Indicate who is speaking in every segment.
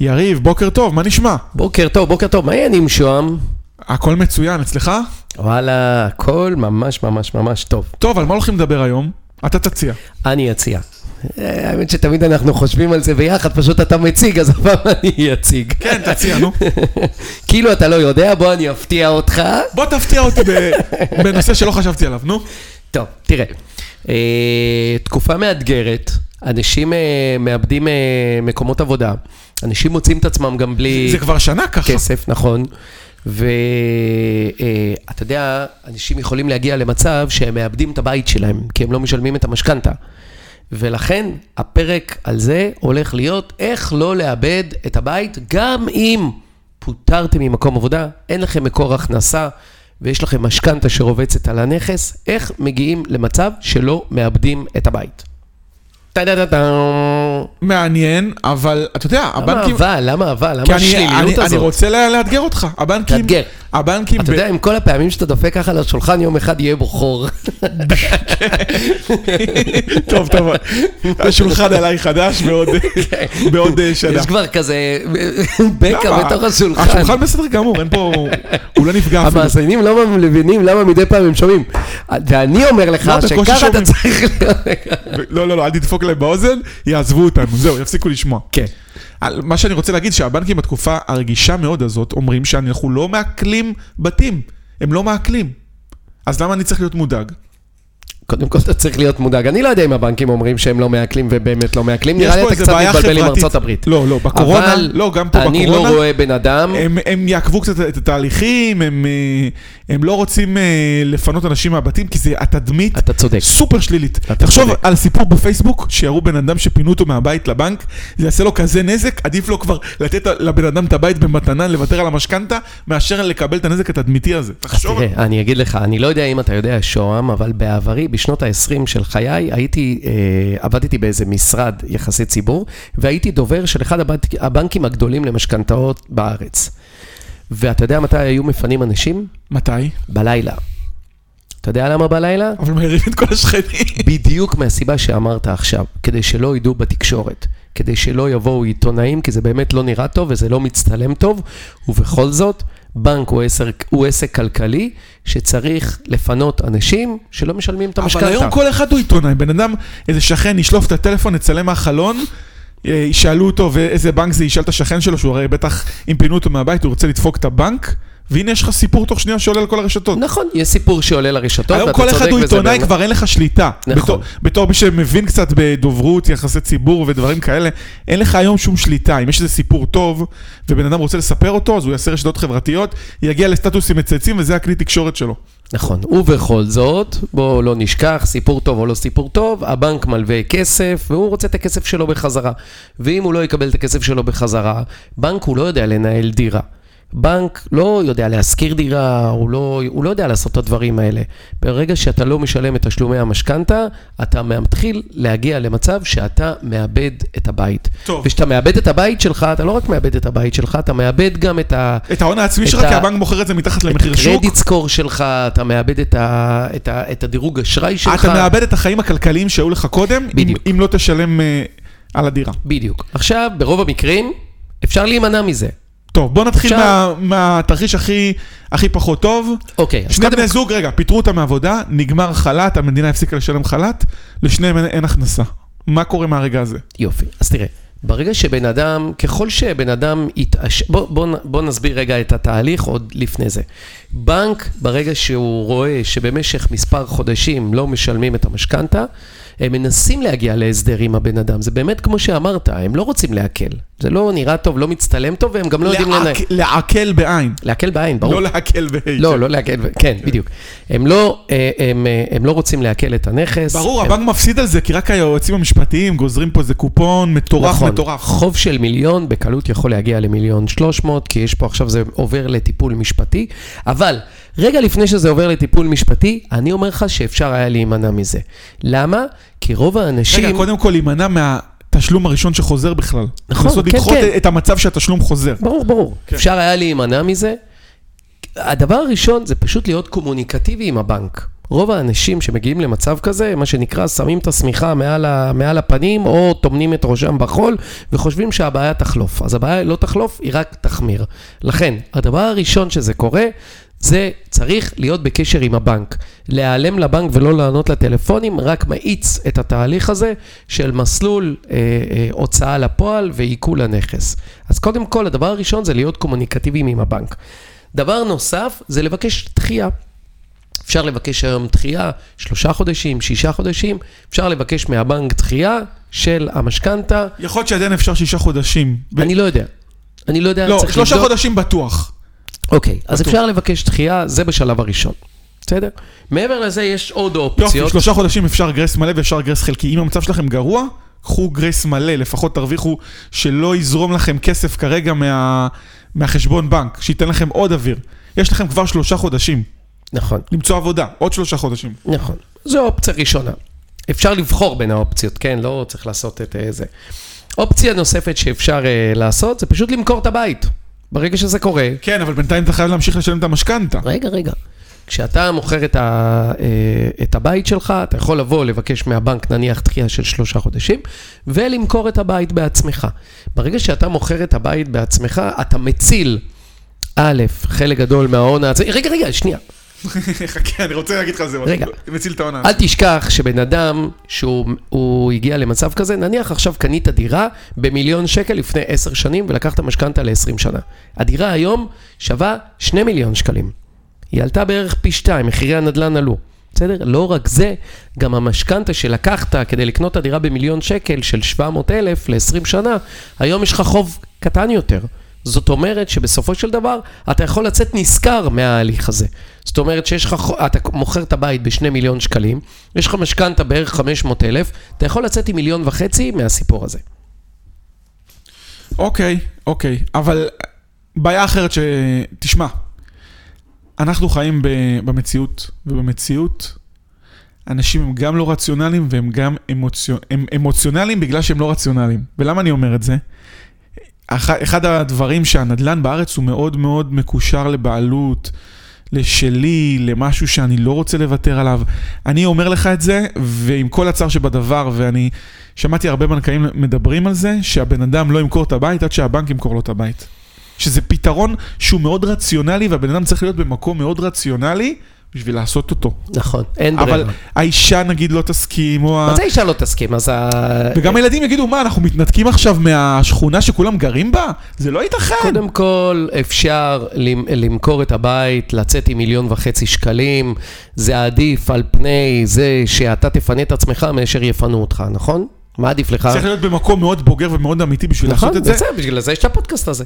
Speaker 1: יריב, בוקר טוב, מה נשמע?
Speaker 2: בוקר טוב, בוקר טוב, מה העניינים שוהם?
Speaker 1: הכל מצוין, אצלך?
Speaker 2: וואלה, הכל ממש ממש ממש טוב.
Speaker 1: טוב, על מה הולכים לדבר היום? אתה תציע.
Speaker 2: אני אציע. אה, האמת שתמיד אנחנו חושבים על זה ביחד, פשוט אתה מציג, אז הפעם אני אציג.
Speaker 1: כן, תציע, נו.
Speaker 2: כאילו אתה לא יודע, בוא אני אפתיע אותך.
Speaker 1: בוא תפתיע אותי ב- בנושא שלא חשבתי עליו, נו.
Speaker 2: טוב, תראה, אה, תקופה מאתגרת, אנשים אה, מאבדים אה, מקומות עבודה, אנשים מוצאים את עצמם גם בלי...
Speaker 1: זה כבר שנה ככה.
Speaker 2: כסף, נכון. ואתה יודע, אנשים יכולים להגיע למצב שהם מאבדים את הבית שלהם, כי הם לא משלמים את המשכנתה. ולכן הפרק על זה הולך להיות איך לא לאבד את הבית, גם אם פוטרתם ממקום עבודה, אין לכם מקור הכנסה ויש לכם משכנתה שרובצת על הנכס, איך מגיעים למצב שלא מאבדים את הבית. טה-טה-טה-טה.
Speaker 1: מעניין, אבל אתה יודע,
Speaker 2: למה
Speaker 1: הבנקים...
Speaker 2: אבל? למה אבל?
Speaker 1: כי
Speaker 2: למה
Speaker 1: אני,
Speaker 2: השליליות
Speaker 1: אני,
Speaker 2: הזאת?
Speaker 1: אני רוצה לה- לאתגר אותך, הבנקים,
Speaker 2: תאתגר.
Speaker 1: הבנקים,
Speaker 2: אתה
Speaker 1: ב-
Speaker 2: יודע, עם כל הפעמים שאתה דופק ככה על השולחן, יום אחד יהיה בו חור.
Speaker 1: טוב טוב, השולחן עליי חדש בעוד, בעוד אה, שנה.
Speaker 2: יש כבר כזה בקע
Speaker 1: למה?
Speaker 2: כן. בתוך השולחן.
Speaker 1: השולחן בסדר גמור, אין פה, הוא לא נפגע אפילו.
Speaker 2: המאזינים לא מבינים למה מדי פעם הם שומעים. ואני אומר לך
Speaker 1: לא, בקושי
Speaker 2: שככה אתה
Speaker 1: שומעים.
Speaker 2: צריך...
Speaker 1: לא, לא, לא, אל תדפוק להם באוזן, יעזבו אותנו, זהו, יפסיקו לשמוע.
Speaker 2: כן.
Speaker 1: על- מה שאני רוצה להגיד, שהבנקים בתקופה הרגישה מאוד הזאת, אומרים שאנחנו לא מעקלים בתים, הם לא מעקלים. אז למה אני צריך להיות מודאג?
Speaker 2: קודם כל אתה צריך להיות מודאג. אני לא יודע אם הבנקים אומרים שהם לא מעכלים ובאמת לא מעכלים.
Speaker 1: יש
Speaker 2: נראה לי
Speaker 1: פה
Speaker 2: אתה
Speaker 1: איזה
Speaker 2: קצת
Speaker 1: בעיה
Speaker 2: מתבלבל עם
Speaker 1: חברתית.
Speaker 2: ארצות הברית.
Speaker 1: לא, לא, בקורונה,
Speaker 2: אבל
Speaker 1: לא, גם פה
Speaker 2: אני
Speaker 1: בקורונה,
Speaker 2: לא רואה בן אדם...
Speaker 1: הם, הם יעכבו קצת את התהליכים, הם, אה, הם לא רוצים אה, לפנות אנשים מהבתים, כי זה התדמית
Speaker 2: אתה צודק.
Speaker 1: סופר שלילית.
Speaker 2: אתה
Speaker 1: תחשוב
Speaker 2: צודק.
Speaker 1: על סיפור בפייסבוק, שיראו בן אדם שפינו אותו מהבית לבנק, זה יעשה לו כזה נזק, עדיף לו כבר לתת לבן אדם את הבית במתנה, לוותר על המשכנתה, מאשר לקבל את הנזק התדמיתי הזה. תחשוב,
Speaker 2: תראה, אני אגיד לך, אני לא יודע אם אתה יודע, שוהם, אבל בעברי, בשנות ה-20 של חיי, הייתי, אה, עבדתי באיזה משרד יחסי ציבור, והייתי דובר של אחד הבנק, הבנקים הגדולים למשכנתאות בארץ. ואתה יודע מתי היו מפנים אנשים?
Speaker 1: מתי?
Speaker 2: בלילה. אתה יודע למה בלילה?
Speaker 1: אבל מעירים את כל השכנים.
Speaker 2: בדיוק מהסיבה שאמרת עכשיו, כדי שלא ידעו בתקשורת, כדי שלא יבואו עיתונאים, כי זה באמת לא נראה טוב וזה לא מצטלם טוב, ובכל זאת, בנק הוא, עשר, הוא עסק כלכלי שצריך לפנות אנשים שלא משלמים את
Speaker 1: אבל היום
Speaker 2: המשכנתה.
Speaker 1: כל אחד הוא עיתונאי, בן אדם, איזה שכן ישלוף את הטלפון, יצלם מהחלון, אה, ישאלו אותו ואיזה בנק זה, ישאל את השכן שלו, שהוא הרי בטח, אם פינו אותו מהבית, הוא רוצה לדפוק את הבנק, והנה יש לך סיפור תוך שנייה שעולה על כל הרשתות.
Speaker 2: נכון, יש סיפור שעולה לרשתות, ואתה
Speaker 1: היום
Speaker 2: צודק
Speaker 1: כל
Speaker 2: בזה.
Speaker 1: אחד הוא עיתונאי,
Speaker 2: באמת.
Speaker 1: כבר אין לך שליטה.
Speaker 2: נכון.
Speaker 1: בתור- בתור מי שמבין קצת בדוברות, יחסי ציבור ודברים כאלה, אין לך היום שום שליטה. אם יש איזה סיפור טוב, ובן אדם רוצה לספר אותו, אז הוא יעשה רשתות חברתיות, יגיע לסטטוסים מצייצים, וזה הכלי תקשורת שלו.
Speaker 2: נכון, ובכל זאת, בואו לא נשכח, סיפור טוב או לא סיפור טוב, הבנק מלווה כסף, והוא רוצה את הכסף שלו בחזרה. ואם הוא לא יקבל את הכסף שלו בחזרה, בנק הוא לא יודע לנהל דירה. בנק לא יודע להשכיר דירה, הוא לא, הוא לא יודע לעשות את הדברים האלה. ברגע שאתה לא משלם את תשלומי המשכנתה, אתה מתחיל להגיע למצב שאתה מאבד את הבית.
Speaker 1: טוב.
Speaker 2: וכשאתה מאבד את הבית שלך, אתה לא רק מאבד את הבית שלך, אתה מאבד גם את ה...
Speaker 1: את ההון העצמי
Speaker 2: את
Speaker 1: שלך,
Speaker 2: ה-
Speaker 1: כי הבנק מוכר את זה מתחת למחיר שוק.
Speaker 2: קרדיט סקור שלך, אתה מאבד את, ה, את, ה, את הדירוג אשראי שלך.
Speaker 1: אתה מאבד את החיים הכלכליים שהיו לך קודם, אם-
Speaker 2: בדיוק.
Speaker 1: אם לא תשלם אה, על הדירה.
Speaker 2: בדיוק. עכשיו, ברוב המקרים, אפשר להימנע מזה.
Speaker 1: טוב, בוא נתחיל
Speaker 2: עכשיו-
Speaker 1: מה- מהתרחיש הכי הכי פחות טוב.
Speaker 2: אוקיי, אז
Speaker 1: שני
Speaker 2: קודם...
Speaker 1: בני זוג, רגע, פיטרו אותם מעבודה, נגמר חל"ת, המדינה הפסיקה לשלם חל"ת, לשניהם אין- אין הכנסה. מה קורה מהרגע הזה?
Speaker 2: יופי, אז תראה. ברגע שבן אדם, ככל שבן אדם יתעש... בוא, בוא, נ- בוא נסביר רגע את התהליך עוד לפני זה. בנק, ברגע שהוא רואה שבמשך מספר חודשים לא משלמים את המשכנתה, הם מנסים להגיע להסדר עם הבן אדם. זה באמת כמו שאמרת, הם לא רוצים להקל. זה לא נראה טוב, לא מצטלם טוב, והם גם לא יודעים
Speaker 1: לעק-
Speaker 2: לנהל.
Speaker 1: לעקל בעין,
Speaker 2: להקל בעין, ברור.
Speaker 1: לא לעקל ב...
Speaker 2: לא, לא לעקל, כן, בדיוק. הם לא, אה, הם, אה, הם לא רוצים לעקל את הנכס.
Speaker 1: ברור,
Speaker 2: הם-
Speaker 1: הבנק מפסיד על זה, כי רק היועצים המשפטיים גוזרים פה איזה קופון מטורף,
Speaker 2: נכון,
Speaker 1: מטורף.
Speaker 2: חוב של מיליון בקלות יכול להגיע למיליון שלוש מאות, כי יש פה עכשיו זה עובר לטיפול משפטי, אבל רגע לפני שזה עובר לטיפול משפטי, אני אומר לך שאפשר היה להימנע מזה. למה? כי רוב האנשים...
Speaker 1: רגע, קודם כל להימנע מהתשלום הראשון שחוזר בכלל.
Speaker 2: נכון,
Speaker 1: לנסות
Speaker 2: כן,
Speaker 1: לדחות
Speaker 2: כן.
Speaker 1: את המצב שהתשלום חוזר.
Speaker 2: ברור, ברור. כן. אפשר היה להימנע מזה. הדבר הראשון זה פשוט להיות קומוניקטיבי עם הבנק. רוב האנשים שמגיעים למצב כזה, מה שנקרא, שמים את השמיכה מעל, ה, מעל הפנים או טומנים את ראשם בחול וחושבים שהבעיה תחלוף. אז הבעיה לא תחלוף, היא רק תחמיר. לכן, הדבר הראשון שזה קורה, זה צריך להיות בקשר עם הבנק. להיעלם לבנק ולא לענות לטלפונים, רק מאיץ את התהליך הזה של מסלול אה, אה, הוצאה לפועל ועיכול הנכס. אז קודם כל, הדבר הראשון זה להיות קומוניקטיביים עם הבנק. דבר נוסף זה לבקש דחייה. אפשר לבקש היום דחייה, שלושה חודשים, שישה חודשים, אפשר לבקש מהבנק דחייה של המשכנתה,
Speaker 1: יכול להיות שעדיין אפשר שישה חודשים. ב-
Speaker 2: אני לא יודע. אני לא יודע,
Speaker 1: לא,
Speaker 2: צריך
Speaker 1: שלושה
Speaker 2: לבדוק.
Speaker 1: חודשים בטוח.
Speaker 2: אוקיי, אז
Speaker 1: בטוח.
Speaker 2: אפשר לבקש דחייה, זה בשלב הראשון. בסדר? מעבר לזה יש עוד
Speaker 1: יופי,
Speaker 2: אופציות.
Speaker 1: שלושה חודשים אפשר גרייס מלא ואפשר גרייס חלקי. אם המצב שלכם גרוע, קחו גרייס מלא, לפחות תרוויחו שלא יזרום לכם כסף כרגע מה... מהחשבון בנק, שייתן לכם עוד אוויר. יש לכם כבר שלושה חודשים
Speaker 2: נכון,
Speaker 1: למצוא עבודה, עוד שלושה חודשים.
Speaker 2: נכון. זו אופציה ראשונה. אפשר לבחור בין האופציות, כן? לא צריך לעשות את אה, זה. אופציה נוספת שאפשר uh, לעשות זה פשוט למכור את הבית. ברגע שזה קורה,
Speaker 1: כן, אבל בינתיים אתה חייב להמשיך לשלם את המשכנתה.
Speaker 2: רגע, רגע. כשאתה מוכר את, ה, אה, את הבית שלך, אתה יכול לבוא לבקש מהבנק נניח דחייה של שלושה חודשים, ולמכור את הבית בעצמך. ברגע שאתה מוכר את הבית בעצמך, אתה מציל, א', חלק גדול מההון העצמי, רגע, רגע, שנייה,
Speaker 1: חכה, אני רוצה להגיד לך על זה
Speaker 2: רגע.
Speaker 1: מציל את העונה.
Speaker 2: אל תשכח שבן אדם שהוא הוא הגיע למצב כזה, נניח עכשיו קנית דירה במיליון שקל לפני עשר שנים ולקחת משכנתה ל-20 שנה. הדירה היום שווה 2 מיליון שקלים. היא עלתה בערך פי שתיים, מחירי הנדלן עלו. בסדר? לא רק זה, גם המשכנתה שלקחת כדי לקנות את הדירה במיליון שקל של 700 אלף ל-20 שנה, היום יש לך חוב קטן יותר. זאת אומרת שבסופו של דבר אתה יכול לצאת נשכר מההליך הזה. זאת אומרת שיש לך, חו- אתה מוכר את הבית בשני מיליון שקלים, יש לך משכנתה בערך 500 אלף, אתה יכול לצאת עם מיליון וחצי מהסיפור הזה.
Speaker 1: אוקיי, אוקיי, אבל בעיה אחרת ש... תשמע, אנחנו חיים ב... במציאות, ובמציאות אנשים הם גם לא רציונליים והם גם אמוציו... הם אמוציונליים בגלל שהם לא רציונליים. ולמה אני אומר את זה? אח... אחד הדברים שהנדלן בארץ הוא מאוד מאוד מקושר לבעלות, לשלי, למשהו שאני לא רוצה לוותר עליו. אני אומר לך את זה, ועם כל הצער שבדבר, ואני שמעתי הרבה בנקאים מדברים על זה, שהבן אדם לא ימכור את הבית עד שהבנק ימכור לו את הבית. שזה פתרון שהוא מאוד רציונלי, והבן אדם צריך להיות במקום מאוד רציונלי בשביל לעשות אותו.
Speaker 2: נכון, אין ברירה.
Speaker 1: אבל
Speaker 2: אבל...
Speaker 1: האישה נגיד לא תסכים, או... ה-
Speaker 2: אז האישה לא תסכים, אז ה... אה,
Speaker 1: וגם הילדים יגידו, מה, אנחנו מתנתקים עכשיו מהשכונה שכולם גרים בה? זה לא ייתכן.
Speaker 2: קודם כל, אפשר למ- למכור את הבית, לצאת עם מיליון וחצי שקלים, זה עדיף על פני זה שאתה תפנה את עצמך מאשר יפנו אותך, נכון? מה עדיף לך?
Speaker 1: צריך להיות במקום מאוד בוגר ומאוד אמיתי בשביל
Speaker 2: נכון,
Speaker 1: לעשות את זה.
Speaker 2: בסדר, בשביל זה יש את הפודקאסט הזה.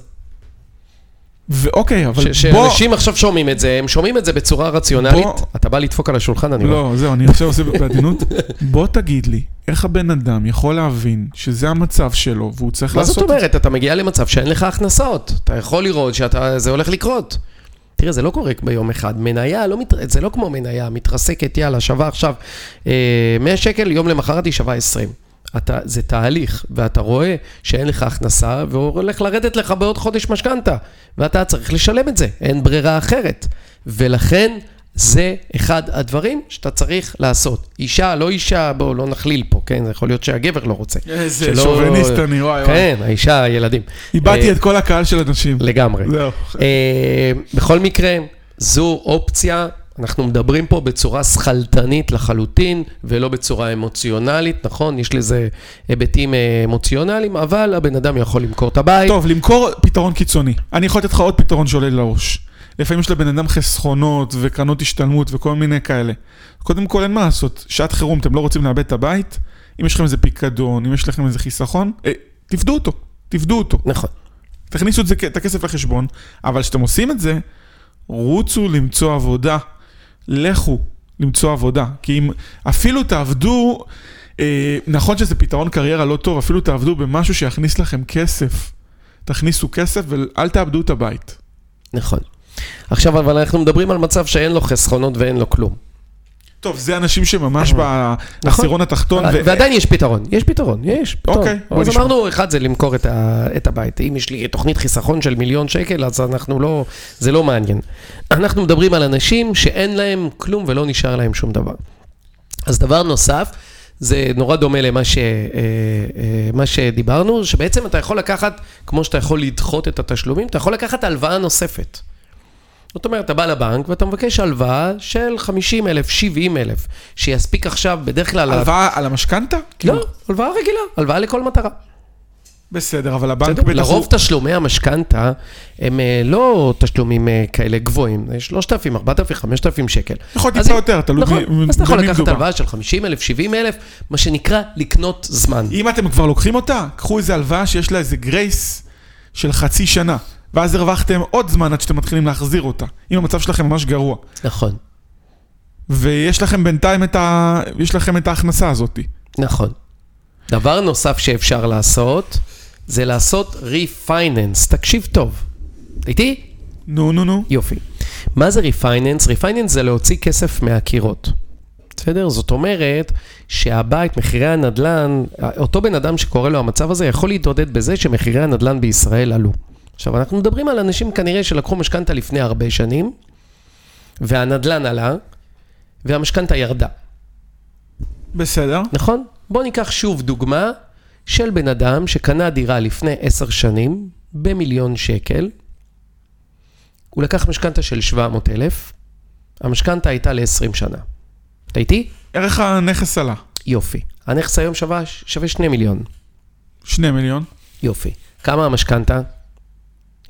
Speaker 1: ואוקיי, אבל
Speaker 2: ש-
Speaker 1: בוא...
Speaker 2: שאנשים עכשיו שומעים את זה, הם שומעים את זה בצורה רציונלית.
Speaker 1: בוא-
Speaker 2: אתה בא לדפוק על השולחן, אני רואה.
Speaker 1: לא, זהו, אני עכשיו עושה בעדינות. בוא תגיד לי, איך הבן אדם יכול להבין שזה המצב שלו והוא צריך
Speaker 2: מה
Speaker 1: לעשות
Speaker 2: זאת
Speaker 1: את זה?
Speaker 2: אומרת? אתה מגיע למצב שאין לך הכנסות. אתה יכול לראות שזה הולך לקרות. תראה, זה לא קורה ביום אחד. מניה, לא מת... זה לא כמו מניה, מתרסקת, יאללה, שווה עכשיו אה, 100 שקל, יום למחרת היא שווה 20. אתה, זה תהליך, ואתה רואה שאין לך הכנסה, והוא הולך לרדת לך בעוד חודש משכנתה, ואתה צריך לשלם את זה, אין ברירה אחרת. ולכן, זה אחד הדברים שאתה צריך לעשות. אישה, לא אישה, בואו, לא נכליל פה, כן? זה יכול להיות שהגבר לא רוצה.
Speaker 1: איזה
Speaker 2: שלא-
Speaker 1: שוביניסט אני, וואי וואי.
Speaker 2: כן, האישה, הילדים.
Speaker 1: איבדתי
Speaker 2: אה,
Speaker 1: את כל הקהל של אנשים.
Speaker 2: לגמרי.
Speaker 1: זהו.
Speaker 2: אה, בכל מקרה, זו אופציה, אנחנו מדברים פה בצורה שכלתנית לחלוטין, ולא בצורה אמוציונלית, נכון? יש לזה היבטים אה, אמוציונליים, אבל הבן אדם יכול למכור את הבית.
Speaker 1: טוב, למכור פתרון קיצוני. אני יכול לתת לך עוד פתרון שעולה לי לראש. לפעמים יש לבן אדם חסכונות וקרנות השתלמות וכל מיני כאלה. קודם כל, אין מה לעשות. שעת חירום, אתם לא רוצים לאבד את הבית? אם יש לכם איזה פיקדון, אם יש לכם איזה חיסכון, אה, תפדו אותו. תפדו אותו.
Speaker 2: נכון.
Speaker 1: תכניסו את, זה, את הכסף לחשבון, אבל כשאתם עושים את זה, רוצו למצוא עבודה. לכו למצוא עבודה. כי אם אפילו תעבדו, אה, נכון שזה פתרון קריירה לא טוב, אפילו תעבדו במשהו שיכניס לכם כסף. תכניסו כסף ואל תאבדו את הבית.
Speaker 2: נכון. עכשיו, אבל אנחנו מדברים על מצב שאין לו חסכונות ואין לו כלום.
Speaker 1: טוב, זה אנשים שממש
Speaker 2: נכון.
Speaker 1: בעשירון התחתון. ו-
Speaker 2: ועדיין יש פתרון, יש פתרון, יש פתרון.
Speaker 1: אוקיי, בוא
Speaker 2: אז
Speaker 1: נשמע.
Speaker 2: אמרנו, אחד זה למכור את ה- את הבית. אם יש לי תוכנית חיסכון של מיליון שקל, אז אנחנו לא, זה לא מעניין. אנחנו מדברים על אנשים שאין להם כלום ולא נשאר להם שום דבר. אז דבר נוסף, זה נורא דומה למה ש, אה, אה, מה שדיברנו, שבעצם אתה יכול לקחת, כמו שאתה יכול לדחות את התשלומים, אתה יכול לקחת הלוואה נוספת. זאת אומרת, אתה בא לבנק ואתה מבקש הלוואה של 50 אלף, 70 אלף, שיספיק עכשיו בדרך כלל...
Speaker 1: הלוואה על המשכנתה?
Speaker 2: לא, הלוואה רגילה, הלוואה לכל מטרה.
Speaker 1: בסדר, אבל הבנק
Speaker 2: בסדר?
Speaker 1: בטח הוא...
Speaker 2: לרוב תשלומי המשכנתה הם אה, לא תשלומים אה, כאלה גבוהים, זה 3,000, 4,000, 5,000 שקל.
Speaker 1: יכול להיות
Speaker 2: אז
Speaker 1: טיפה
Speaker 2: אם-
Speaker 1: יותר, תלוי
Speaker 2: נכון,
Speaker 1: מ-
Speaker 2: אז אתה יכול
Speaker 1: במי
Speaker 2: לקחת
Speaker 1: מדובר.
Speaker 2: הלוואה של 50,000, 70,000, מה שנקרא לקנות זמן.
Speaker 1: אם אתם כבר לוקחים אותה, קחו איזה הלוואה שיש לה איזה גרייס של חצי שנה, ואז הרווחתם עוד זמן עד שאתם מתחילים להחזיר אותה, אם המצב שלכם ממש גרוע.
Speaker 2: נכון,
Speaker 1: ויש לכם בינתיים את, ה... יש לכם את ההכנסה הזאת.
Speaker 2: נכון. דבר נוסף שאפשר לעשות, זה לעשות ריפייננס. תקשיב טוב. איתי?
Speaker 1: נו, נו, נו.
Speaker 2: יופי. מה זה ריפייננס? ריפייננס זה להוציא כסף מהקירות. בסדר? זאת אומרת שהבית, מחירי הנדלן, אותו בן אדם שקורא לו המצב הזה יכול להתעודד בזה שמחירי הנדלן בישראל עלו. עכשיו, אנחנו מדברים על אנשים כנראה שלקחו משכנתה לפני הרבה שנים, והנדלן עלה, והמשכנתה ירדה,
Speaker 1: בסדר.
Speaker 2: נכון? בואו ניקח שוב דוגמה של בן אדם שקנה דירה לפני עשר שנים במיליון שקל, הוא לקח משכנתה של 700 אלף, המשכנתה הייתה ל-20 שנה. אתה איתי?
Speaker 1: ערך הנכס עלה,
Speaker 2: יופי. הנכס היום שווה, שווה 2 מיליון.
Speaker 1: שני מיליון,
Speaker 2: יופי. כמה המשכנתה?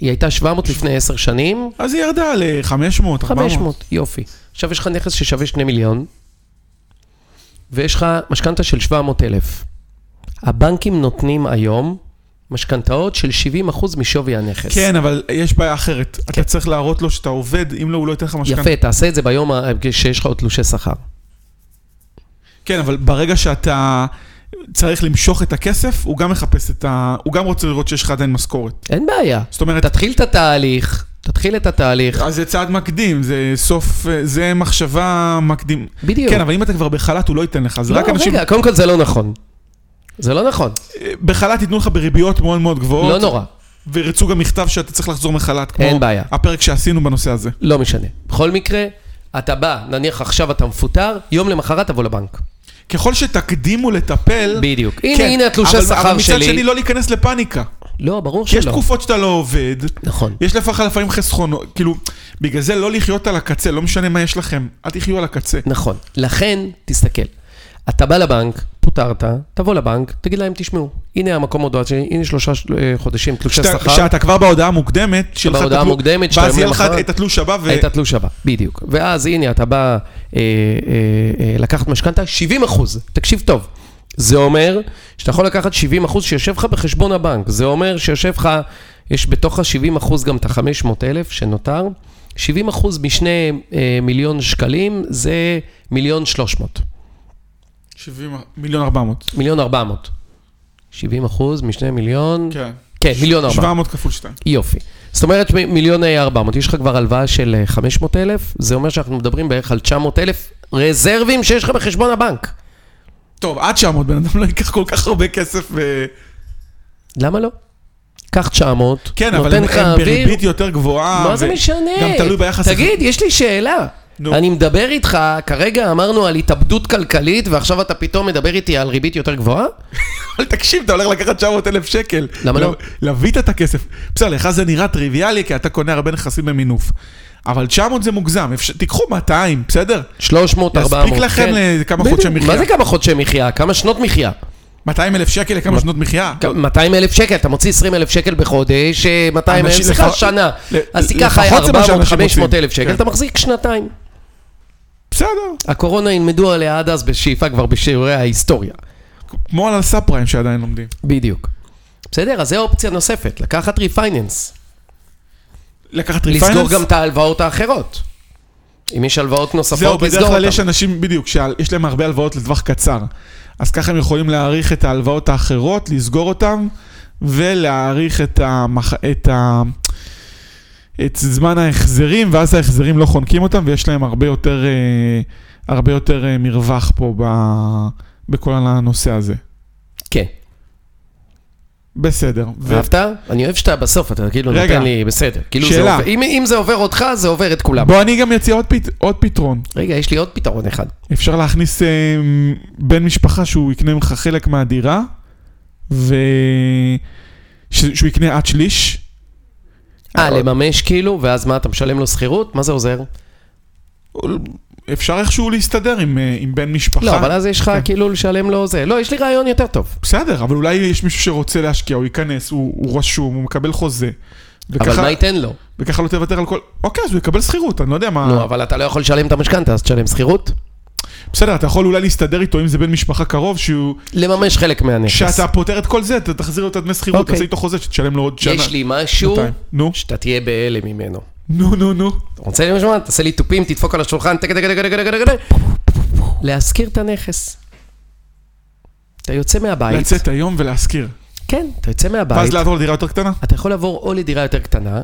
Speaker 2: היא הייתה 700 לפני 10 שנים,
Speaker 1: אז היא ירדה ל-500, 400.
Speaker 2: 500, יופי. עכשיו יש לך נכס ששווה 2 מיליון, ויש לך משכנתה של 700 אלף. הבנקים נותנים היום משכנתאות של 70% משווי הנכס.
Speaker 1: כן, אבל יש בעיה אחרת. אתה צריך להראות לו שאתה עובד, אם לא, הוא לא ייתן לך משכנתה.
Speaker 2: יפה, תעשה את זה ביום ה- שיש לך עוד תלושי שכר.
Speaker 1: כן, אבל ברגע שאתה צריך למשוך את הכסף, הוא גם מחפש את ה... הוא גם רוצה לראות שיש לך עדיין משכורת.
Speaker 2: אין בעיה.
Speaker 1: זאת אומרת,
Speaker 2: תתחיל את התהליך, תתחיל את התהליך.
Speaker 1: אז זה צעד מקדים, זה סוף, זה מחשבה מקדים.
Speaker 2: בדיוק.
Speaker 1: כן, אבל אם אתה כבר בחל"ת, הוא לא ייתן לך, אז
Speaker 2: לא,
Speaker 1: רק אנשים...
Speaker 2: רגע, קודם כל זה לא נכון. זה לא נכון,
Speaker 1: בחל"ת ייתנו לך בריביות מאוד מאוד גבוהות.
Speaker 2: לא נורא,
Speaker 1: וירצו גם מכתב שאתה צריך לחזור מחל"ת, כמו
Speaker 2: אין בעיה.
Speaker 1: הפרק שעשינו בנושא הזה.
Speaker 2: לא משנה. בכל מקרה, אתה בא, נניח עכשיו אתה מפוטר, יום למחרת תבוא לבנק.
Speaker 1: ככל שתקדימו לטפל...
Speaker 2: בדיוק. הנה,
Speaker 1: כן,
Speaker 2: הנה התלושי
Speaker 1: אבל-
Speaker 2: שכר
Speaker 1: אבל מצד
Speaker 2: שלי.
Speaker 1: שני, לא להיכנס לפאניקה.
Speaker 2: לא, ברור
Speaker 1: כי
Speaker 2: שלא.
Speaker 1: יש תקופות שאתה לא עובד,
Speaker 2: נכון.
Speaker 1: יש לך לפעמים חסכונות, כאילו, בגלל זה לא לחיות על הקצה, לא משנה מה יש לכם, אל תחיו על הקצה.
Speaker 2: נכון. לכן, תסתכל. אתה בא לבנק, פוטרת, תבוא לבנק, תגיד להם, תשמעו, הנה המקום הודעה שלי, הנה שלושה אה, חודשים תלושי
Speaker 1: כשאתה-
Speaker 2: שכר,
Speaker 1: כשאתה כבר בהודעה המוקדמת, שיהיה לך את
Speaker 2: בהודעה
Speaker 1: התלו-
Speaker 2: המוקדמת, שאתה
Speaker 1: ואז יהיה
Speaker 2: יום
Speaker 1: לך
Speaker 2: למחרת.
Speaker 1: את התלוש הבא, ו-
Speaker 2: את התלוש הבא, בדיוק. ואז הנה, אתה בא אה, אה, אה, לקחת משכנתה, 70 אחוז, תקשיב טוב. זה אומר שאתה יכול לקחת 70 אחוז שיושב לך בחשבון הבנק, זה אומר שיושב לך, יש בתוך ה-70 אחוז גם את ה-500 אלף שנותר, 70 אחוז משני אה, מיליון שקלים זה מיליון 300.
Speaker 1: 70 מיליון 400.
Speaker 2: מיליון ארבע מאות. שבעים אחוז משני מיליון...
Speaker 1: כן.
Speaker 2: כן, מיליון ארבע.
Speaker 1: 700 כפול 2.
Speaker 2: יופי. זאת אומרת מ- מיליון ארבע מאות. יש לך כבר הלוואה של אה, 500 אלף, זה אומר שאנחנו מדברים בערך על 900 אלף רזרבים שיש לך בחשבון הבנק.
Speaker 1: טוב, עד 900 בן אדם לא ייקח כל כך הרבה כסף. אה, ו-
Speaker 2: למה לא? קח 900,
Speaker 1: כן, אבל
Speaker 2: נותן
Speaker 1: הם
Speaker 2: לך
Speaker 1: הם
Speaker 2: אוויר.
Speaker 1: בריבית יותר גבוהה.
Speaker 2: מה
Speaker 1: ו-
Speaker 2: זה משנה?
Speaker 1: גם תלוי ביחס...
Speaker 2: תגיד, יש לי שאלה.
Speaker 1: נו.
Speaker 2: אני מדבר איתך, כרגע אמרנו על התאבדות כלכלית, ועכשיו אתה פתאום מדבר איתי על ריבית יותר גבוהה?
Speaker 1: אבל תקשיב, אתה הולך לקחת 900 אלף שקל.
Speaker 2: למה לא?
Speaker 1: לווית את הכסף. בסדר, לך זה נראה טריוויאלי, כי אתה קונה הרבה נכסים במינוף. אבל 900 זה מוגזם, אפשר- תיקחו 200, בסדר?
Speaker 2: 300, 400.
Speaker 1: יספיק לכם
Speaker 2: כן.
Speaker 1: לכמה חודשי
Speaker 2: בדיוק.
Speaker 1: מחיה.
Speaker 2: מה זה כמה חודשי מחיה? כמה שנות מחיה?
Speaker 1: 200 אלף שקל לכמה שנות מחיה?
Speaker 2: 200 אלף שקל, אתה מוציא 20 אלף שקל בחודש, אה, 200 אלף,
Speaker 1: אנשים-
Speaker 2: סליחה,
Speaker 1: לפח-
Speaker 2: שנה.
Speaker 1: ל-
Speaker 2: אז תיקח
Speaker 1: לפחות זה מה שאנשים
Speaker 2: 400, 500
Speaker 1: רוצים.
Speaker 2: אלף
Speaker 1: כן.
Speaker 2: שקל, אתה מחזיק שנתיים.
Speaker 1: בסדר.
Speaker 2: הקורונה ילמדו עליה עד אז בשאיפה כבר בשיעורי ההיסטוריה.
Speaker 1: כמו על הסאב פריים שעדיין לומדים.
Speaker 2: בדיוק. בסדר, אז זו אופציה נוספת, לקחת ריפייננס.
Speaker 1: לקחת ריפייננס?
Speaker 2: לסגור גם את ההלוואות האחרות. אם יש הלוואות
Speaker 1: זהו,
Speaker 2: נוספות,
Speaker 1: בדרך
Speaker 2: לסגור
Speaker 1: כלל יש
Speaker 2: אותן.
Speaker 1: אנשים, בדיוק, שיש להם הרבה הלוואות לטווח קצר. אז ככה הם יכולים להעריך את ההלוואות האחרות, לסגור אותן, ולהעריך את, המח... את, ה... את זמן ההחזרים, ואז ההחזרים לא חונקים אותם, ויש להם הרבה יותר אה, הרבה יותר אה, מרווח פה ב... בכל הנושא הזה.
Speaker 2: כן.
Speaker 1: בסדר. ו-
Speaker 2: אהבת? אני אוהב שאתה בסוף, אתה כאילו
Speaker 1: רגע.
Speaker 2: נותן לי, בסדר. כאילו זה
Speaker 1: שאלה.
Speaker 2: עובר- אם אם זה עובר אותך, זה עובר את כולם.
Speaker 1: בוא אני גם אציע עוד, פת... עוד פתרון.
Speaker 2: רגע, יש לי עוד פתרון אחד.
Speaker 1: אפשר להכניס אה, בן משפחה שהוא יקנה ממך חלק מהדירה, ו... ש... שהוא יקנה עד שליש.
Speaker 2: אה,
Speaker 1: עוד-
Speaker 2: לממש כאילו, ואז מה, אתה משלם לו שכירות? מה זה עוזר?
Speaker 1: אפשר איכשהו להסתדר עם, אה, עם בן משפחה.
Speaker 2: לא, אבל אז יש לך
Speaker 1: כן.
Speaker 2: כאילו לשלם לו זה. לא, יש לי רעיון יותר טוב.
Speaker 1: בסדר, אבל אולי יש מישהו שרוצה להשקיע, הוא ייכנס, הוא, הוא רשום, הוא מקבל חוזה.
Speaker 2: אבל
Speaker 1: וככה,
Speaker 2: מה ייתן לו?
Speaker 1: וככה לא תוותר על כל... אוקיי, אז הוא יקבל שכירות, אני לא יודע מה...
Speaker 2: נו, אבל אתה לא יכול לשלם את המשכנתה, אז תשלם שכירות?
Speaker 1: בסדר, אתה יכול אולי להסתדר איתו אם זה בן משפחה קרוב, שהוא...
Speaker 2: לממש חלק מהנכס.
Speaker 1: שאתה פותר את כל זה, אתה תחזיר לו את הדמי שכירות,
Speaker 2: אוקיי.
Speaker 1: תעשה איתו חוזה שתשלם לו עוד שנה.
Speaker 2: יש לי משהו
Speaker 1: שנתיים. נו,
Speaker 2: שאתה תהיה בהלם ממנו.
Speaker 1: נו, נו, נו.
Speaker 2: אתה רוצה לי משמע? תעשה לי תופים, תדפוק על השולחן, תק תק תק תק תק תק. להשכיר את הנכס. אתה יוצא מהבית.
Speaker 1: לצאת היום ולהשכיר.
Speaker 2: כן, אתה יוצא
Speaker 1: ואז
Speaker 2: מהבית.
Speaker 1: לעבור לדירה יותר קטנה?
Speaker 2: אתה יכול לעבור או לדירה יותר קטנה,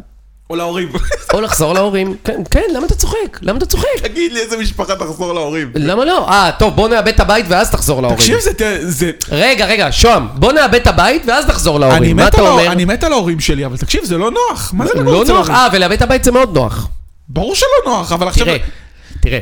Speaker 1: או להורים.
Speaker 2: או לחזור להורים. כן, כן, למה אתה צוחק? למה אתה צוחק?
Speaker 1: תגיד לי איזה משפחה תחזור להורים.
Speaker 2: למה לא? אה, טוב, בוא נאבד את הבית ואז תחזור להורים.
Speaker 1: תקשיב, זה... ת- זה-
Speaker 2: רגע, רגע, שוהם, בוא נאבד את הבית ואז נחזור
Speaker 1: אני
Speaker 2: להורים. מה
Speaker 1: מת
Speaker 2: אתה
Speaker 1: על ההור-
Speaker 2: אומר?
Speaker 1: אני מת על ההורים שלי, אבל תקשיב, זה לא נוח. מה זה לגור
Speaker 2: לא
Speaker 1: אצל
Speaker 2: נוח?
Speaker 1: ההורים?
Speaker 2: אה, ולאבד את הבית זה מאוד נוח.
Speaker 1: ברור שלא נוח, אבל עכשיו...
Speaker 2: תראה, תראה,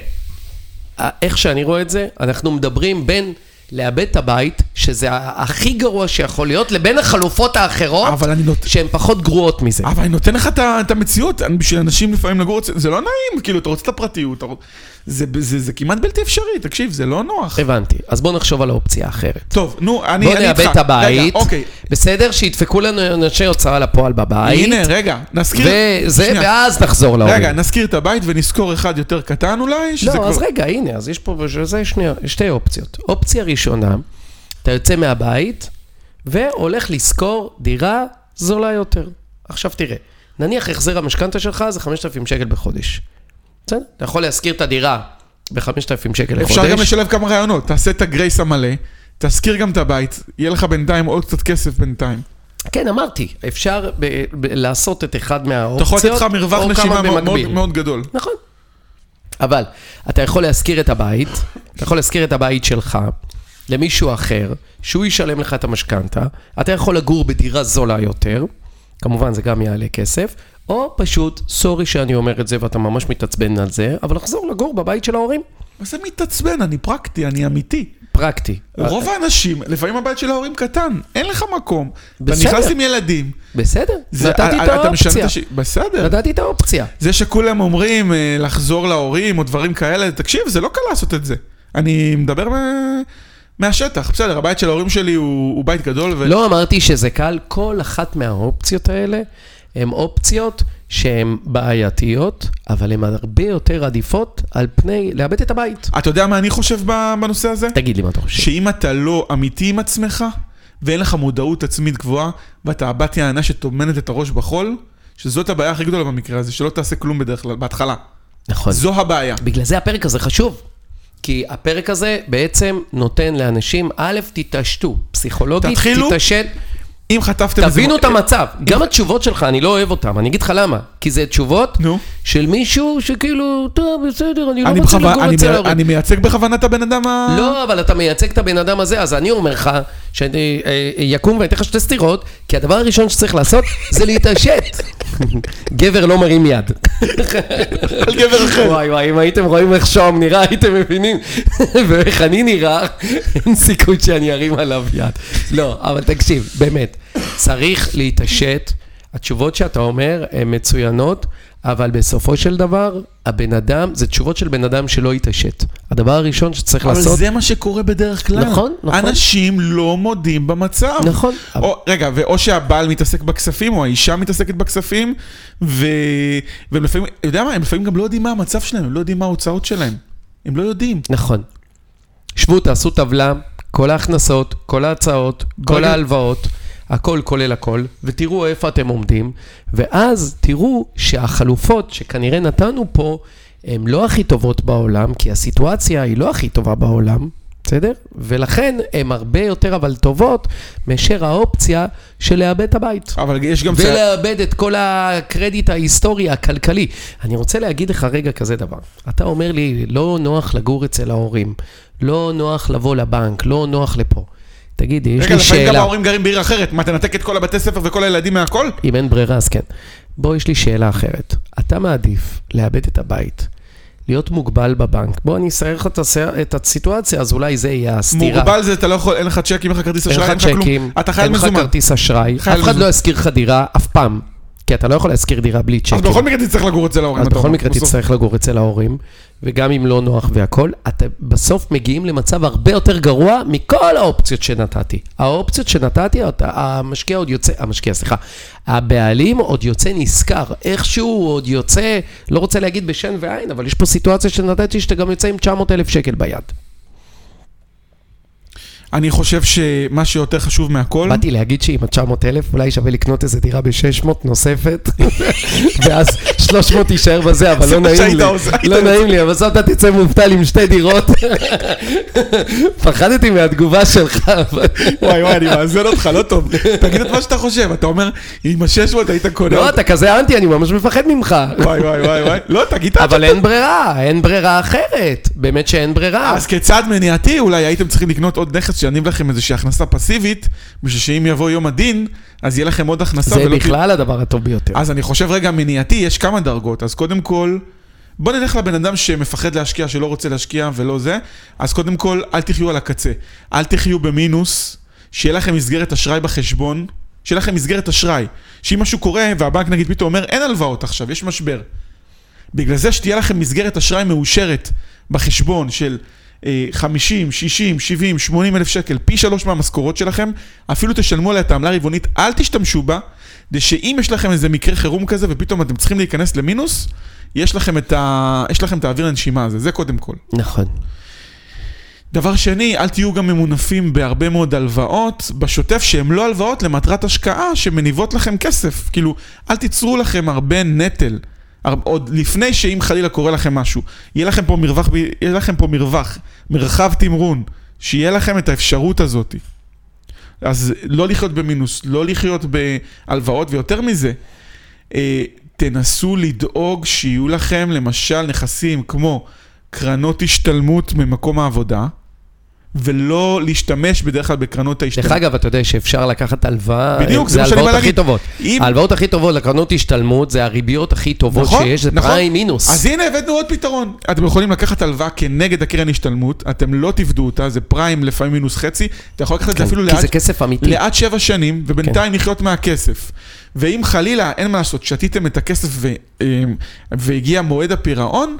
Speaker 2: אה, איך שאני רואה את זה, אנחנו מדברים בין לאבד את הבית, שזה ה- הכי גרוע שיכול להיות, לבין החלופות האחרות,
Speaker 1: אבל אה. אני נות-
Speaker 2: שהן פחות גרועות מזה.
Speaker 1: אבל אני נותן לך את ה- את המציאות, אני- בשביל אנשים לפעמים לגור, אצל- זה לא נעים, כאילו, אתה רוצה את הפרטיות, אתה רוצ- זה- זה זה כמעט בלתי אפשרי, תקשיב, זה לא נוח.
Speaker 2: הבנתי, אז בואו נחשוב על האופציה האחרת.
Speaker 1: טוב, נו, אני
Speaker 2: בואו
Speaker 1: אני איתך.
Speaker 2: אה, נאבד את הבית,
Speaker 1: רגע, אוקיי,
Speaker 2: בסדר? שידפקו לנו אנשי הוצאה לפועל בבית,
Speaker 1: הנה, רגע, נזכיר...
Speaker 2: וזה,
Speaker 1: שנייה.
Speaker 2: ואז נחזור להורים.
Speaker 1: רגע, נזכיר את הבית ונזכור אחד יותר קטן אולי, שזה
Speaker 2: לא,
Speaker 1: כבר...
Speaker 2: אז רגע, הנה, אז יש פה, זה שני, שתי אופציות. אופציה ראשונה, אתה יוצא מהבית והולך לשכור דירה זולה יותר. עכשיו תראה, נניח החזר המשכנתה שלך זה 5,000 שקל בחודש. בסדר? אתה יכול להשכיר את הדירה ב-5,000 שקל לחודש.
Speaker 1: אפשר גם לשלב כמה רעיונות, תעשה את הגרייס המלא, תשכיר גם את הבית, יהיה לך בינתיים עוד קצת כסף בינתיים.
Speaker 2: כן, אמרתי, אפשר ב- ב- לעשות את אחד
Speaker 1: אתה יכול
Speaker 2: מהאופציות.
Speaker 1: לתת לך מרווח
Speaker 2: או
Speaker 1: נשימה
Speaker 2: כמה
Speaker 1: מאוד- מאוד
Speaker 2: במקביל.
Speaker 1: מאוד גדול.
Speaker 2: נכון. אבל אתה יכול להשכיר את הבית, אתה יכול להשכיר את הבית שלך למישהו אחר, שהוא ישלם לך את המשכנתה, אתה יכול לגור בדירה זולה יותר, כמובן זה גם יעלה כסף, או פשוט, סורי שאני אומר את זה ואתה ממש מתעצבן על זה, אבל לחזור לגור בבית של ההורים.
Speaker 1: מה זה מתעצבן? אני פרקטי, אני אמיתי.
Speaker 2: פרקטי.
Speaker 1: רוב האנשים, לפעמים הבית של ההורים קטן, אין לך מקום. אתה
Speaker 2: בסדר.
Speaker 1: נכנס עם ילדים.
Speaker 2: בסדר,
Speaker 1: זה-
Speaker 2: נתתי
Speaker 1: אה,
Speaker 2: את
Speaker 1: אה, אתה משנה
Speaker 2: האופציה.
Speaker 1: הש- בסדר.
Speaker 2: נתתי את האופציה.
Speaker 1: זה שכולם אומרים אה, לחזור להורים או דברים כאלה, תקשיב, זה לא קל לעשות את זה. אני מדבר מה- מהשטח, בסדר, הבית של ההורים שלי הוא הוא בית גדול, ו-
Speaker 2: לא אמרתי שזה קל, כל אחת מהאופציות האלה הן אופציות שהן בעייתיות, אבל הן הרבה יותר עדיפות על פני לאבד את הבית.
Speaker 1: אתה יודע מה אני חושב ב- בנושא הזה?
Speaker 2: תגיד לי מה אתה חושב.
Speaker 1: שאם אתה לא אמיתי עם עצמך, ואין לך מודעות עצמית גבוהה, ואתה הבת יענה שטומנת את הראש בחול, שזאת הבעיה הכי גדולה במקרה הזה, שלא תעשה כלום בדרך כלל, בהתחלה.
Speaker 2: נכון.
Speaker 1: זו הבעיה.
Speaker 2: בגלל זה הפרק הזה חשוב. כי הפרק הזה בעצם נותן לאנשים, א', תתעשתו, פסיכולוגית,
Speaker 1: תתחילו.
Speaker 2: תתעשת,
Speaker 1: אם חטפתם... איזה-
Speaker 2: תבינו את המצב. גם התשובות שלך, אני לא אוהב אותן, אני אגיד לך למה. כי זה תשובות
Speaker 1: נו.
Speaker 2: של מישהו שכאילו, טוב, בסדר, אני לא
Speaker 1: אני
Speaker 2: רוצה
Speaker 1: בכוו-
Speaker 2: לגור
Speaker 1: אני
Speaker 2: אצל
Speaker 1: מי-
Speaker 2: ההורים.
Speaker 1: אני מייצג בכוונה את הבן אדם ה...
Speaker 2: לא, אבל אתה מייצג את הבן אדם הזה, אז אני אומר לך שאני אה, יקום ואני אתן לך שתי סטירות, כי הדבר הראשון שצריך לעשות זה להתעשת. גבר לא מרים יד.
Speaker 1: על גבר אחר.
Speaker 2: וואי וואי, אם הייתם רואים איך שוהם נראה, הייתם מבינים. ואיך אני נראה, אין סיכוי שאני ארים עליו יד. לא, אבל תקשיב, באמת, צריך להתעשת. התשובות שאתה אומר הן מצוינות, אבל בסופו של דבר, הבן אדם, זה תשובות של בן אדם שלא התעשת. הדבר הראשון שצריך
Speaker 1: אבל
Speaker 2: לעשות...
Speaker 1: זה מה שקורה בדרך כלל.
Speaker 2: נכון, נכון.
Speaker 1: אנשים לא מודים במצב.
Speaker 2: נכון.
Speaker 1: או, רגע, ואו שהבעל מתעסק בכספים, או האישה מתעסקת בכספים, ו... והם לפעמים, אתה יודע מה, הם לפעמים גם לא יודעים מה המצב שלהם, הם לא יודעים מה ההוצאות שלהם. הם לא יודעים.
Speaker 2: נכון. שבו, תעשו טבלה, כל ההכנסות, כל ההצעות, כל
Speaker 1: רגע.
Speaker 2: ההלוואות, הכל כולל הכל, ותראו איפה אתם עומדים, ואז תראו שהחלופות שכנראה נתנו פה, הן לא הכי טובות בעולם, כי הסיטואציה היא לא הכי טובה בעולם, בסדר? ולכן הן הרבה יותר אבל טובות מאשר האופציה של לאבד את הבית.
Speaker 1: אבל יש גם... צעד-
Speaker 2: ולאבד את כל הקרדיט ההיסטורי, הכלכלי. אני רוצה להגיד לך רגע כזה דבר. אתה אומר לי, לא נוח לגור אצל ההורים, לא נוח לבוא לבנק, לא נוח לפה. תגיד, יש
Speaker 1: רגע,
Speaker 2: לי
Speaker 1: לפעמים גם
Speaker 2: שאלה.
Speaker 1: ההורים גרים בעיר אחרת. מה, תנתק את כל הבתי ספר וכל הילדים מהכל?
Speaker 2: אם אין ברירה, אז כן. בוא, יש לי שאלה אחרת. אתה מעדיף לאבד את הבית, להיות מוגבל בבנק. בוא, אני אסייר לך את הס- את הסיטואציה, אז אולי זה יהיה הסתירה.
Speaker 1: מוגבל זה אתה לא יכול, אין לך צ'קים, אין לך כרטיס
Speaker 2: אין
Speaker 1: אשראי,
Speaker 2: לך צ'קים,
Speaker 1: אתה חייל
Speaker 2: אין לך
Speaker 1: מזומן.
Speaker 2: כרטיס אשראי,
Speaker 1: חייל
Speaker 2: אף אחד
Speaker 1: מזומן.
Speaker 2: לא ישכיר לך דירה אף פעם, כי אתה לא יכול להשכיר דירה בלי צ'קים.
Speaker 1: אז בכל מקרה תצטרך לגור אצל ההורים.
Speaker 2: אז
Speaker 1: אתה
Speaker 2: בכל
Speaker 1: אומר,
Speaker 2: מקרה
Speaker 1: בסוף.
Speaker 2: תצטרך לגור אצל ההורים, וגם אם לא נוח והכול, אתם בסוף מגיעים למצב הרבה יותר גרוע מכל האופציות שנתתי. האופציות שנתתי, אתה- המשקיע עוד יוצא, המשקיע, סליחה, הבעלים עוד יוצא נשכר, איכשהו הוא עוד יוצא, לא רוצה להגיד בשן ועין, אבל יש פה סיטואציה שנתתי שאתה גם יוצא עם 900 אלף שקל ביד.
Speaker 1: אני חושב שמה שיותר חשוב מהכל,
Speaker 2: באתי להגיד שעם ה-900 אלף אולי שווה לקנות איזה דירה ב-600 נוספת, ואז 300 יישאר בזה, אבל
Speaker 1: זה
Speaker 2: לא
Speaker 1: מה
Speaker 2: נעים
Speaker 1: שהיית
Speaker 2: לי.
Speaker 1: עושה, היית
Speaker 2: לא
Speaker 1: עושה.
Speaker 2: נעים לי, אבל בסוף אתה תצא מובטל עם שתי דירות. פחדתי מהתגובה שלך, אבל...
Speaker 1: וואי וואי, אני מאזן אותך, לא טוב. תגיד את מה שאתה חושב, אתה אומר, עם ה-600 היית קונה.
Speaker 2: לא,
Speaker 1: אותה."
Speaker 2: אתה כזה אנטי, אני ממש מפחד ממך.
Speaker 1: וואי וואי וואי וואי, לא, תגיד את ה-
Speaker 2: אבל אין ברירה, אין ברירה אחרת. באמת שאין ברירה.
Speaker 1: אה, אז כצעד מניעתי, אולי הייתם צריכים לקנות עוד נכס שיניב לכם איזושהי הכנסה פסיבית, בשביל שאם יבוא יום הדין, אז יהיה לכם עוד הכנסה.
Speaker 2: זה
Speaker 1: ולא תהיו-
Speaker 2: בכלל הדבר הטוב ביותר.
Speaker 1: אז אני חושב רגע מניעתי, יש כמה דרגות. אז קודם כל, בוא נלך לבן אדם שמפחד להשקיע, שלא רוצה להשקיע ולא זה. אז קודם כל, אל תחיו על הקצה. אל תחיו במינוס, שיהיה לכם מסגרת אשראי בחשבון, שיהיה לכם מסגרת אשראי. שאם משהו קורה והבנק נגיד פתאום אומר, אין הלוואות עכשיו, יש משבר. בגלל זה שתהיה לכם מסגרת אשראי מאושרת בחשבון של אה, 50, 60, 70, 80 אלף שקל, פי שלוש מהמשכורות שלכם, אפילו תשלמו עליה את העמלה הרבעונית, אל תשתמשו בה, כדי שאם יש לכם איזה מקרה חירום כזה ופתאום אתם צריכים להיכנס למינוס, יש לכם את, ה... יש לכם את האוויר לנשימה הזה, זה קודם כל.
Speaker 2: נכון.
Speaker 1: כן. דבר שני, אל תהיו גם ממונפים בהרבה מאוד הלוואות בשוטף שהן לא הלוואות למטרת השקעה שמניבות לכם כסף. כאילו, אל תיצרו לכם הרבה נטל. הר- עוד לפני שאם חלילה קורה לכם משהו, יהיה לכם פה מרווח, ב- יהיה לכם פה מרווח, מרחב תמרון, שיהיה לכם את האפשרות הזאת. אז לא לחיות במינוס, לא לחיות בהלוואות, ויותר מזה, אה, תנסו לדאוג שיהיו לכם למשל נכסים כמו קרנות השתלמות ממקום העבודה, ולא להשתמש בדרך כלל בקרנות ההשתלמות.
Speaker 2: דרך אגב, אתה יודע שאפשר לקחת הלוואה,
Speaker 1: בדיוק, זה
Speaker 2: זה
Speaker 1: מה שאני בא
Speaker 2: ההלוואות הכי
Speaker 1: להגיד.
Speaker 2: טובות.
Speaker 1: אם...
Speaker 2: ההלוואות הכי טובות לקרנות השתלמות, זה הריביות הכי טובות
Speaker 1: נכון,
Speaker 2: שיש, זה
Speaker 1: נכון.
Speaker 2: פריים מינוס.
Speaker 1: אז הנה הבאנו עוד פתרון. אתם יכולים לקחת הלוואה כנגד הקרן השתלמות, אתם לא תפדו אותה, זה פריים לפעמים מינוס חצי, אתה יכול לקחת את זה
Speaker 2: כן,
Speaker 1: אפילו
Speaker 2: כי
Speaker 1: לעד
Speaker 2: זה כסף אמיתי.
Speaker 1: לעד שבע שנים, ובינתיים לחיות מהכסף. ואם חלילה, אין מה לעשות, שתיתם את הכסף ו, אמ, והגיע מועד הפירעון,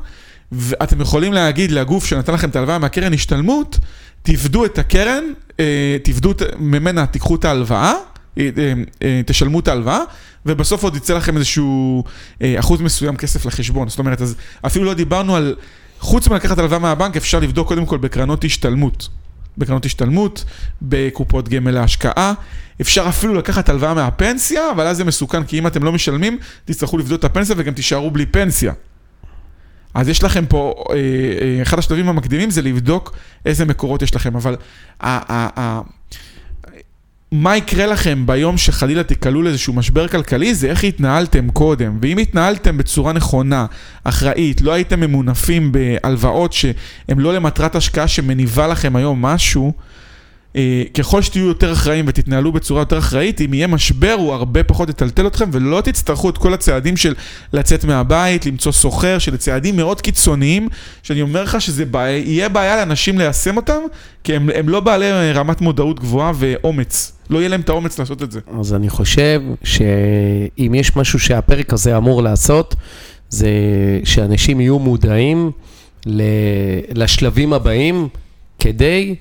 Speaker 1: ואתם יכולים להגיד לגוף שנתן לכם את ההלוואה מהקרן השתלמות, תפדו את הקרן, אה, תפדו את- ממנה, תיקחו את ההלוואה, אה, אה, אה, תשלמו את ההלוואה, ובסוף עוד יצא לכם איזשהו אה, אחוז מסוים כסף לחשבון. זאת אומרת, אז אפילו לא דיברנו על... חוץ מלקחת הלוואה מהבנק, אפשר לבדוק קודם כל בקרנות השתלמות. בקרנות השתלמות, בקופות גמל להשקעה. אפשר אפילו לקחת הלוואה מהפנסיה, אבל אז זה מסוכן, כי אם אתם לא משלמים, תצטרכו לבדוק את הפנסיה וגם תישארו בלי פנסיה. אז יש לכם פה, אה, אה, אחד השלבים המקדימים זה לבדוק איזה מקורות יש לכם, אבל ה- ה- ה- מה יקרה לכם ביום שחלילה תיקלעו לאיזשהו משבר כלכלי, זה איך התנהלתם קודם. ואם התנהלתם בצורה נכונה, אחראית, לא הייתם ממונפים בהלוואות שהן לא למטרת השקעה שמניבה לכם היום משהו, אה, ככל שתהיו יותר אחראים ותתנהלו בצורה יותר אחראית, אם יהיה משבר הוא הרבה פחות יטלטל אתכם ולא תצטרכו את כל הצעדים של לצאת מהבית, למצוא סוחר, של צעדים מאוד קיצוניים, שאני אומר לך שזה בעיה- יהיה בעיה לאנשים ליישם אותם, כי הם, הם לא בעלי אה, רמת מודעות גבוהה ואומץ. לא יהיה להם את האומץ לעשות את זה.
Speaker 2: אז אני חושב שאם יש משהו שהפרק הזה אמור לעשות, זה שאנשים יהיו מודעים ל... לשלבים הבאים, כדי,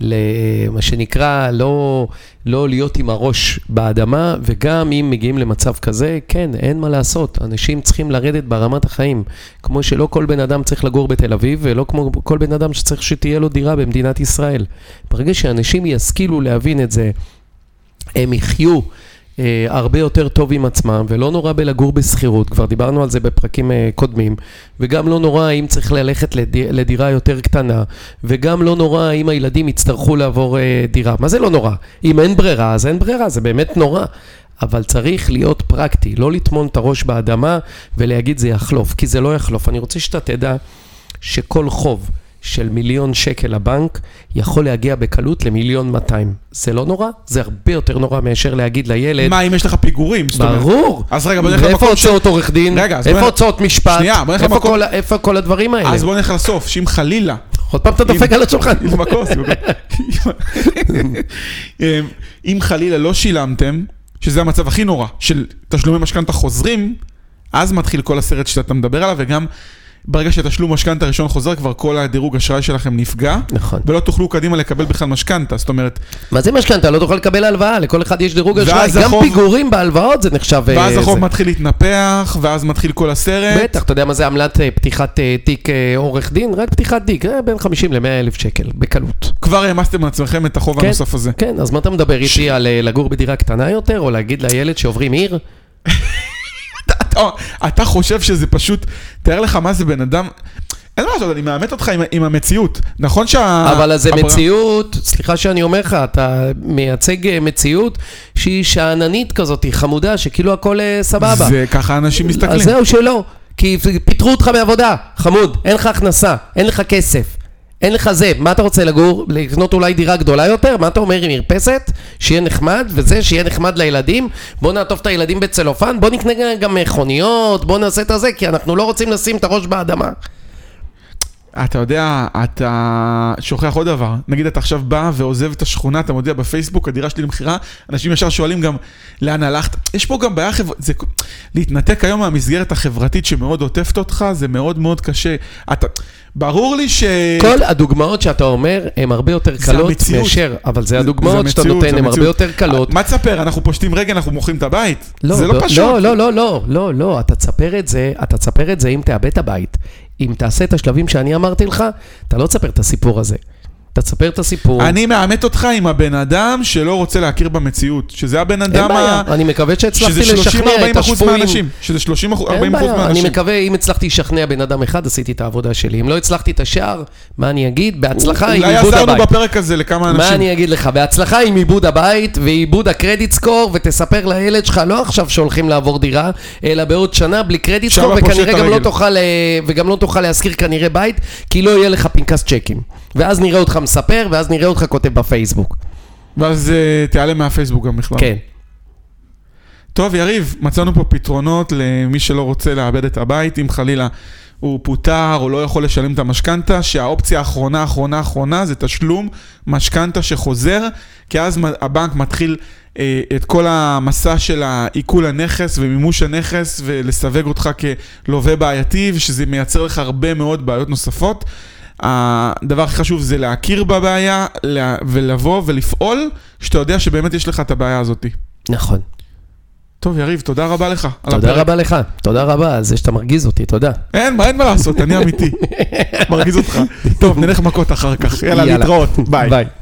Speaker 2: למה שנקרא, לא, לא להיות עם הראש באדמה, וגם אם מגיעים למצב כזה, כן, אין מה לעשות, אנשים צריכים לרדת ברמת החיים. כמו שלא כל בן אדם צריך לגור בתל אביב, ולא כמו כל בן אדם שצריך שתהיה לו דירה במדינת ישראל. ברגע שאנשים ישכילו להבין את זה, הם יחיו אה, הרבה יותר טוב עם עצמם, ולא נורא בלגור בשכירות, כבר דיברנו על זה בפרקים אה, קודמים, וגם לא נורא אם צריך ללכת לד... לדירה יותר קטנה, וגם לא נורא אם הילדים יצטרכו לעבור אה, דירה. מה זה לא נורא? אם אין ברירה, אז אין ברירה, זה באמת נורא. אבל צריך להיות פרקטי, לא לטמון את הראש באדמה ולהגיד זה יחלוף, כי זה לא יחלוף. אני רוצה שאתה תדע שכל חוב של מיליון שקל לבנק יכול להגיע בקלות למיליון 200. זה לא נורא, זה הרבה יותר נורא מאשר להגיד לילד,
Speaker 1: מה אם יש לך פיגורים? זאת אומרת.
Speaker 2: אה, ברור.
Speaker 1: אז רגע, בוא נלך
Speaker 2: ואיפה
Speaker 1: למקום ש-
Speaker 2: הוצאות עורך דין?
Speaker 1: רגע, אז בוא
Speaker 2: איפה
Speaker 1: נלך-
Speaker 2: הוצאות משפט?
Speaker 1: שנייה, בוא נלך
Speaker 2: איפה
Speaker 1: למקום-
Speaker 2: כל ה- איפה כל הדברים האלה?
Speaker 1: אז בוא נלך לסוף, שאם חלילה...
Speaker 2: עוד פעם אתה דופק
Speaker 1: אם-
Speaker 2: על השולחן.
Speaker 1: עם הכוס, עם הכוס. אמ, אם חלילה לא שילמתם, שזה המצב הכי נורא, של תשלומי משכנתה חוזרים, אז מתחיל כל הסרט שאתה מדבר עליו, וגם ברגע שתשלום משכנתה ראשון חוזר, כבר כל הדירוג אשראי שלכם נפגע,
Speaker 2: נכון.
Speaker 1: ולא תוכלו קדימה לקבל בכלל משכנתה, זאת אומרת,
Speaker 2: מה זה משכנתה? לא תוכל לקבל הלוואה, לכל אחד יש דירוג
Speaker 1: ואז
Speaker 2: אשראי. גם
Speaker 1: החוב-
Speaker 2: פיגורים בהלוואות זה נחשב... אה,
Speaker 1: ואז החוב
Speaker 2: זה.
Speaker 1: מתחיל להתנפח, ואז מתחיל כל הסרט.
Speaker 2: בטח, אתה יודע מה זה עמלת אה, פתיחת אה, תיק אה, עורך דין? רק פתיחת תיק, אה, בין 50 ל-100 אלף שקל, בקלות.
Speaker 1: כבר העמסתם על עצמכם את החוב
Speaker 2: כן.
Speaker 1: הנוסף הזה.
Speaker 2: כן, אז מה אתה מדבר איתי על אה, לגור בדירה קטנה יותר, או להגיד לילד שעוברים עיר?
Speaker 1: אתה- אתה חושב שזה פשוט, תאר לך מה זה בן אדם, אין מה לעשות, אני מאמת אותך עם, עם המציאות. נכון שה...
Speaker 2: אבל אז זה
Speaker 1: הברירה-
Speaker 2: מציאות, סליחה שאני אומר לך, אתה מייצג אה, מציאות שהיא שאננית כזאת, היא חמודה, שכאילו הכל אה, סבבה.
Speaker 1: זה ככה אנשים מסתכלים.
Speaker 2: אז זהו, שלא. כי פיטרו אותך מעבודה, חמוד, אין לך הכנסה, אין לך כסף, אין לך זה. מה אתה רוצה לגור? לקנות אולי דירה גדולה יותר? מה אתה אומר עם מרפסת? שיהיה נחמד, וזה, שיהיה נחמד לילדים? בוא נעטוף את הילדים בצלופן, בוא נקנה גם מכוניות, בוא נעשה את הזה, כי אנחנו לא רוצים לשים את הראש באדמה.
Speaker 1: אתה יודע, אתה שוכח עוד דבר. נגיד אתה עכשיו בא ועוזב את השכונה, אתה מודיע בפייסבוק, הדירה שלי למכירה, אנשים ישר שואלים גם, לאן הלכת? יש פה גם בעיה חברתית, זה... להתנתק היום מהמסגרת החברתית שמאוד עוטפת אותך, זה מאוד מאוד קשה. אתה... ברור לי ש...
Speaker 2: כל הדוגמאות שאתה אומר הן הרבה יותר
Speaker 1: זה
Speaker 2: קלות
Speaker 1: המציאות.
Speaker 2: מאשר, אבל זה
Speaker 1: זה-
Speaker 2: הדוגמאות
Speaker 1: זה
Speaker 2: שאתה
Speaker 1: המציאות,
Speaker 2: נותן
Speaker 1: זה
Speaker 2: הן הרבה
Speaker 1: המציאות.
Speaker 2: יותר קלות.
Speaker 1: מה תספר, אנחנו פושטים רגל, אנחנו מוכרים את הבית? זה לא פשוט.
Speaker 2: לא, לא, לא, לא, לא, לא, אתה תספר את זה, אתה תספר את זה אם תאבד את הבית. אם תעשה את השלבים שאני אמרתי לך, אתה לא תספר את הסיפור הזה. אתה תספר את הסיפור.
Speaker 1: אני מאמת אותך עם הבן אדם שלא רוצה להכיר במציאות, שזה הבן
Speaker 2: אין
Speaker 1: אדם
Speaker 2: בעיה,
Speaker 1: ה...
Speaker 2: אני מקווה
Speaker 1: שזה
Speaker 2: שהצלחתי לשכנע את
Speaker 1: 30-40 אחוז
Speaker 2: השפויים.
Speaker 1: מהאנשים, שזה 30-40 אחוז
Speaker 2: אין בעיה, אני
Speaker 1: מהאנשים.
Speaker 2: מקווה, אם הצלחתי לשכנע בן אדם אחד, עשיתי את העבודה שלי. אם לא הצלחתי את השאר, מה אני אגיד? בהצלחה עם
Speaker 1: אולי
Speaker 2: עיבוד
Speaker 1: עזרנו
Speaker 2: הבית.
Speaker 1: בפרק הזה לכמה
Speaker 2: מה
Speaker 1: אנשים.
Speaker 2: אני אגיד לך? בהצלחה עם עיבוד הבית ועיבוד הקרדיט סקור, ותספר לילד שלך לא עכשיו שהולכים לעבור דירה, אלא בעוד שנה בלי קרדיט
Speaker 1: שם
Speaker 2: סקור,
Speaker 1: הפושט
Speaker 2: וכנראה גם לא,
Speaker 1: הרגל.
Speaker 2: תוכל, אה, וגם לא תוכל להשכיר כנראה בית, כי לא יהיה לך פנקס צ'קים. ואז נראה אותך מספר, ואז נראה אותך כותב בפייסבוק.
Speaker 1: ואז אה, תיעלם מהפייסבוק גם בכלל.
Speaker 2: כן.
Speaker 1: טוב, יריב, מצאנו פה פתרונות למי שלא רוצה לאבד את הבית, אם חלילה הוא פוטר או לא יכול לשלם את המשכנתה, שהאופציה האחרונה, האחרונה, האחרונה, זה תשלום משכנתה שחוזר, כי אז מ- הבנק מתחיל אה, את כל המסע של עיקול הנכס ומימוש הנכס, ולסווג אותך כלווה בעייתי, ושזה מייצר לך הרבה מאוד בעיות נוספות. הדבר הכי חשוב זה להכיר בבעיה, לה- ולבוא ולפעול, שאתה יודע שבאמת יש לך את הבעיה הזאת.
Speaker 2: נכון.
Speaker 1: טוב, יריב, תודה רבה לך. על
Speaker 2: תודה
Speaker 1: הפרק.
Speaker 2: רבה לך. תודה רבה על זה שאתה מרגיז אותי, תודה.
Speaker 1: אין מה, אין מה לעשות, אני אמיתי. מרגיז אותך. טוב, נלך מכות אחר כך. יאללה, להתראות. ביי.
Speaker 2: ביי.